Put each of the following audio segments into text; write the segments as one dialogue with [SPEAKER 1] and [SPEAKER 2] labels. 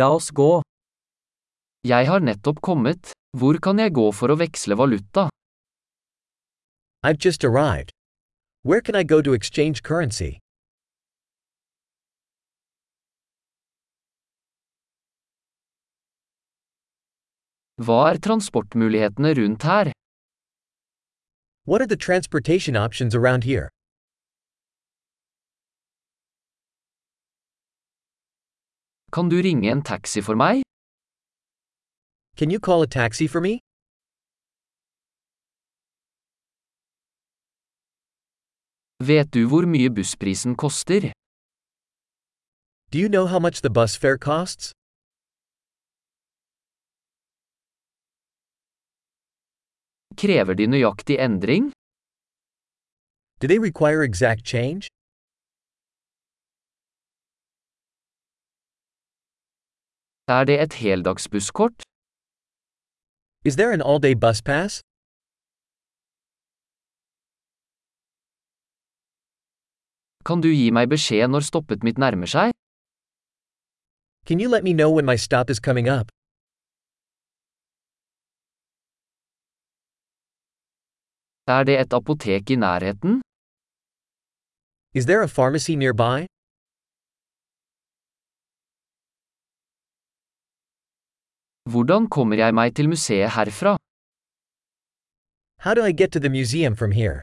[SPEAKER 1] La oss gå. Jeg har nettopp kommet. Hvor kan jeg gå for å veksle valuta?
[SPEAKER 2] I've just arrived. Where can I go to exchange currency?
[SPEAKER 1] Hva er transportmulighetene rundt her?
[SPEAKER 2] What are the transportation options around here?
[SPEAKER 1] Kan du ringe en taxi for meg?
[SPEAKER 2] Can you call a taxi for me?
[SPEAKER 1] Vet du hvor mye bussprisen koster?
[SPEAKER 2] Do you know how much the bus fare costs?
[SPEAKER 1] Krever de nøyaktig endring?
[SPEAKER 2] Do they require exact change?
[SPEAKER 1] Er det et heldagsbusskort?
[SPEAKER 2] Is there an all day bus pass?
[SPEAKER 1] Kan du gi meg beskjed når stoppet mitt nærmer seg?
[SPEAKER 2] Can you let me know when my stop is coming up?
[SPEAKER 1] Er det et apotek i nærheten?
[SPEAKER 2] Is there a pharmacy nearby?
[SPEAKER 1] Hvordan kommer jeg meg til museet herfra?
[SPEAKER 2] How do I get to the museum from here?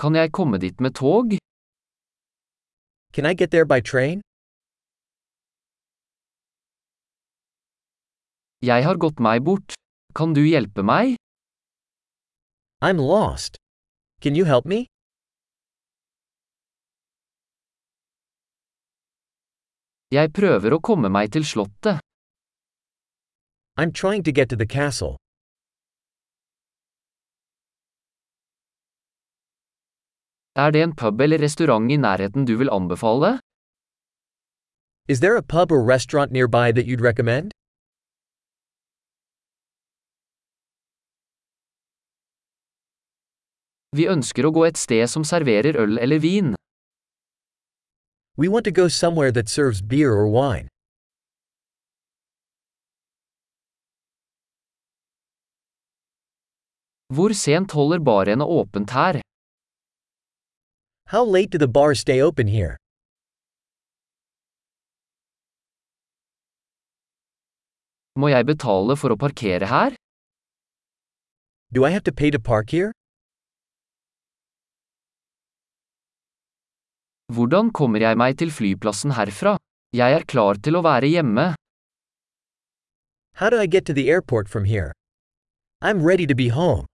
[SPEAKER 1] Kan jeg komme dit med tog?
[SPEAKER 2] Can I get there by train?
[SPEAKER 1] Jeg har gått meg bort. Kan du hjelpe meg?
[SPEAKER 2] I'm lost. Can you help me?
[SPEAKER 1] Jeg prøver å komme meg til slottet.
[SPEAKER 2] I'm trying to get to the castle.
[SPEAKER 1] Er det en pub eller restaurant i nærheten du vil anbefale?
[SPEAKER 2] Is there a pub or restaurant nearby that you'd recommend?
[SPEAKER 1] Vi ønsker å gå et sted som serverer øl eller vin.
[SPEAKER 2] We want to go somewhere that serves beer or wine.
[SPEAKER 1] Hvor sent holder barene åpent her?
[SPEAKER 2] How late do the bars stay open here?
[SPEAKER 1] Må jeg betale for å parkere her?
[SPEAKER 2] Do I have to pay to park here?
[SPEAKER 1] Hvordan kommer jeg meg til flyplassen herfra? Jeg er klar til å være hjemme.
[SPEAKER 2] How do I get to the airport from here? I'm ready to be home.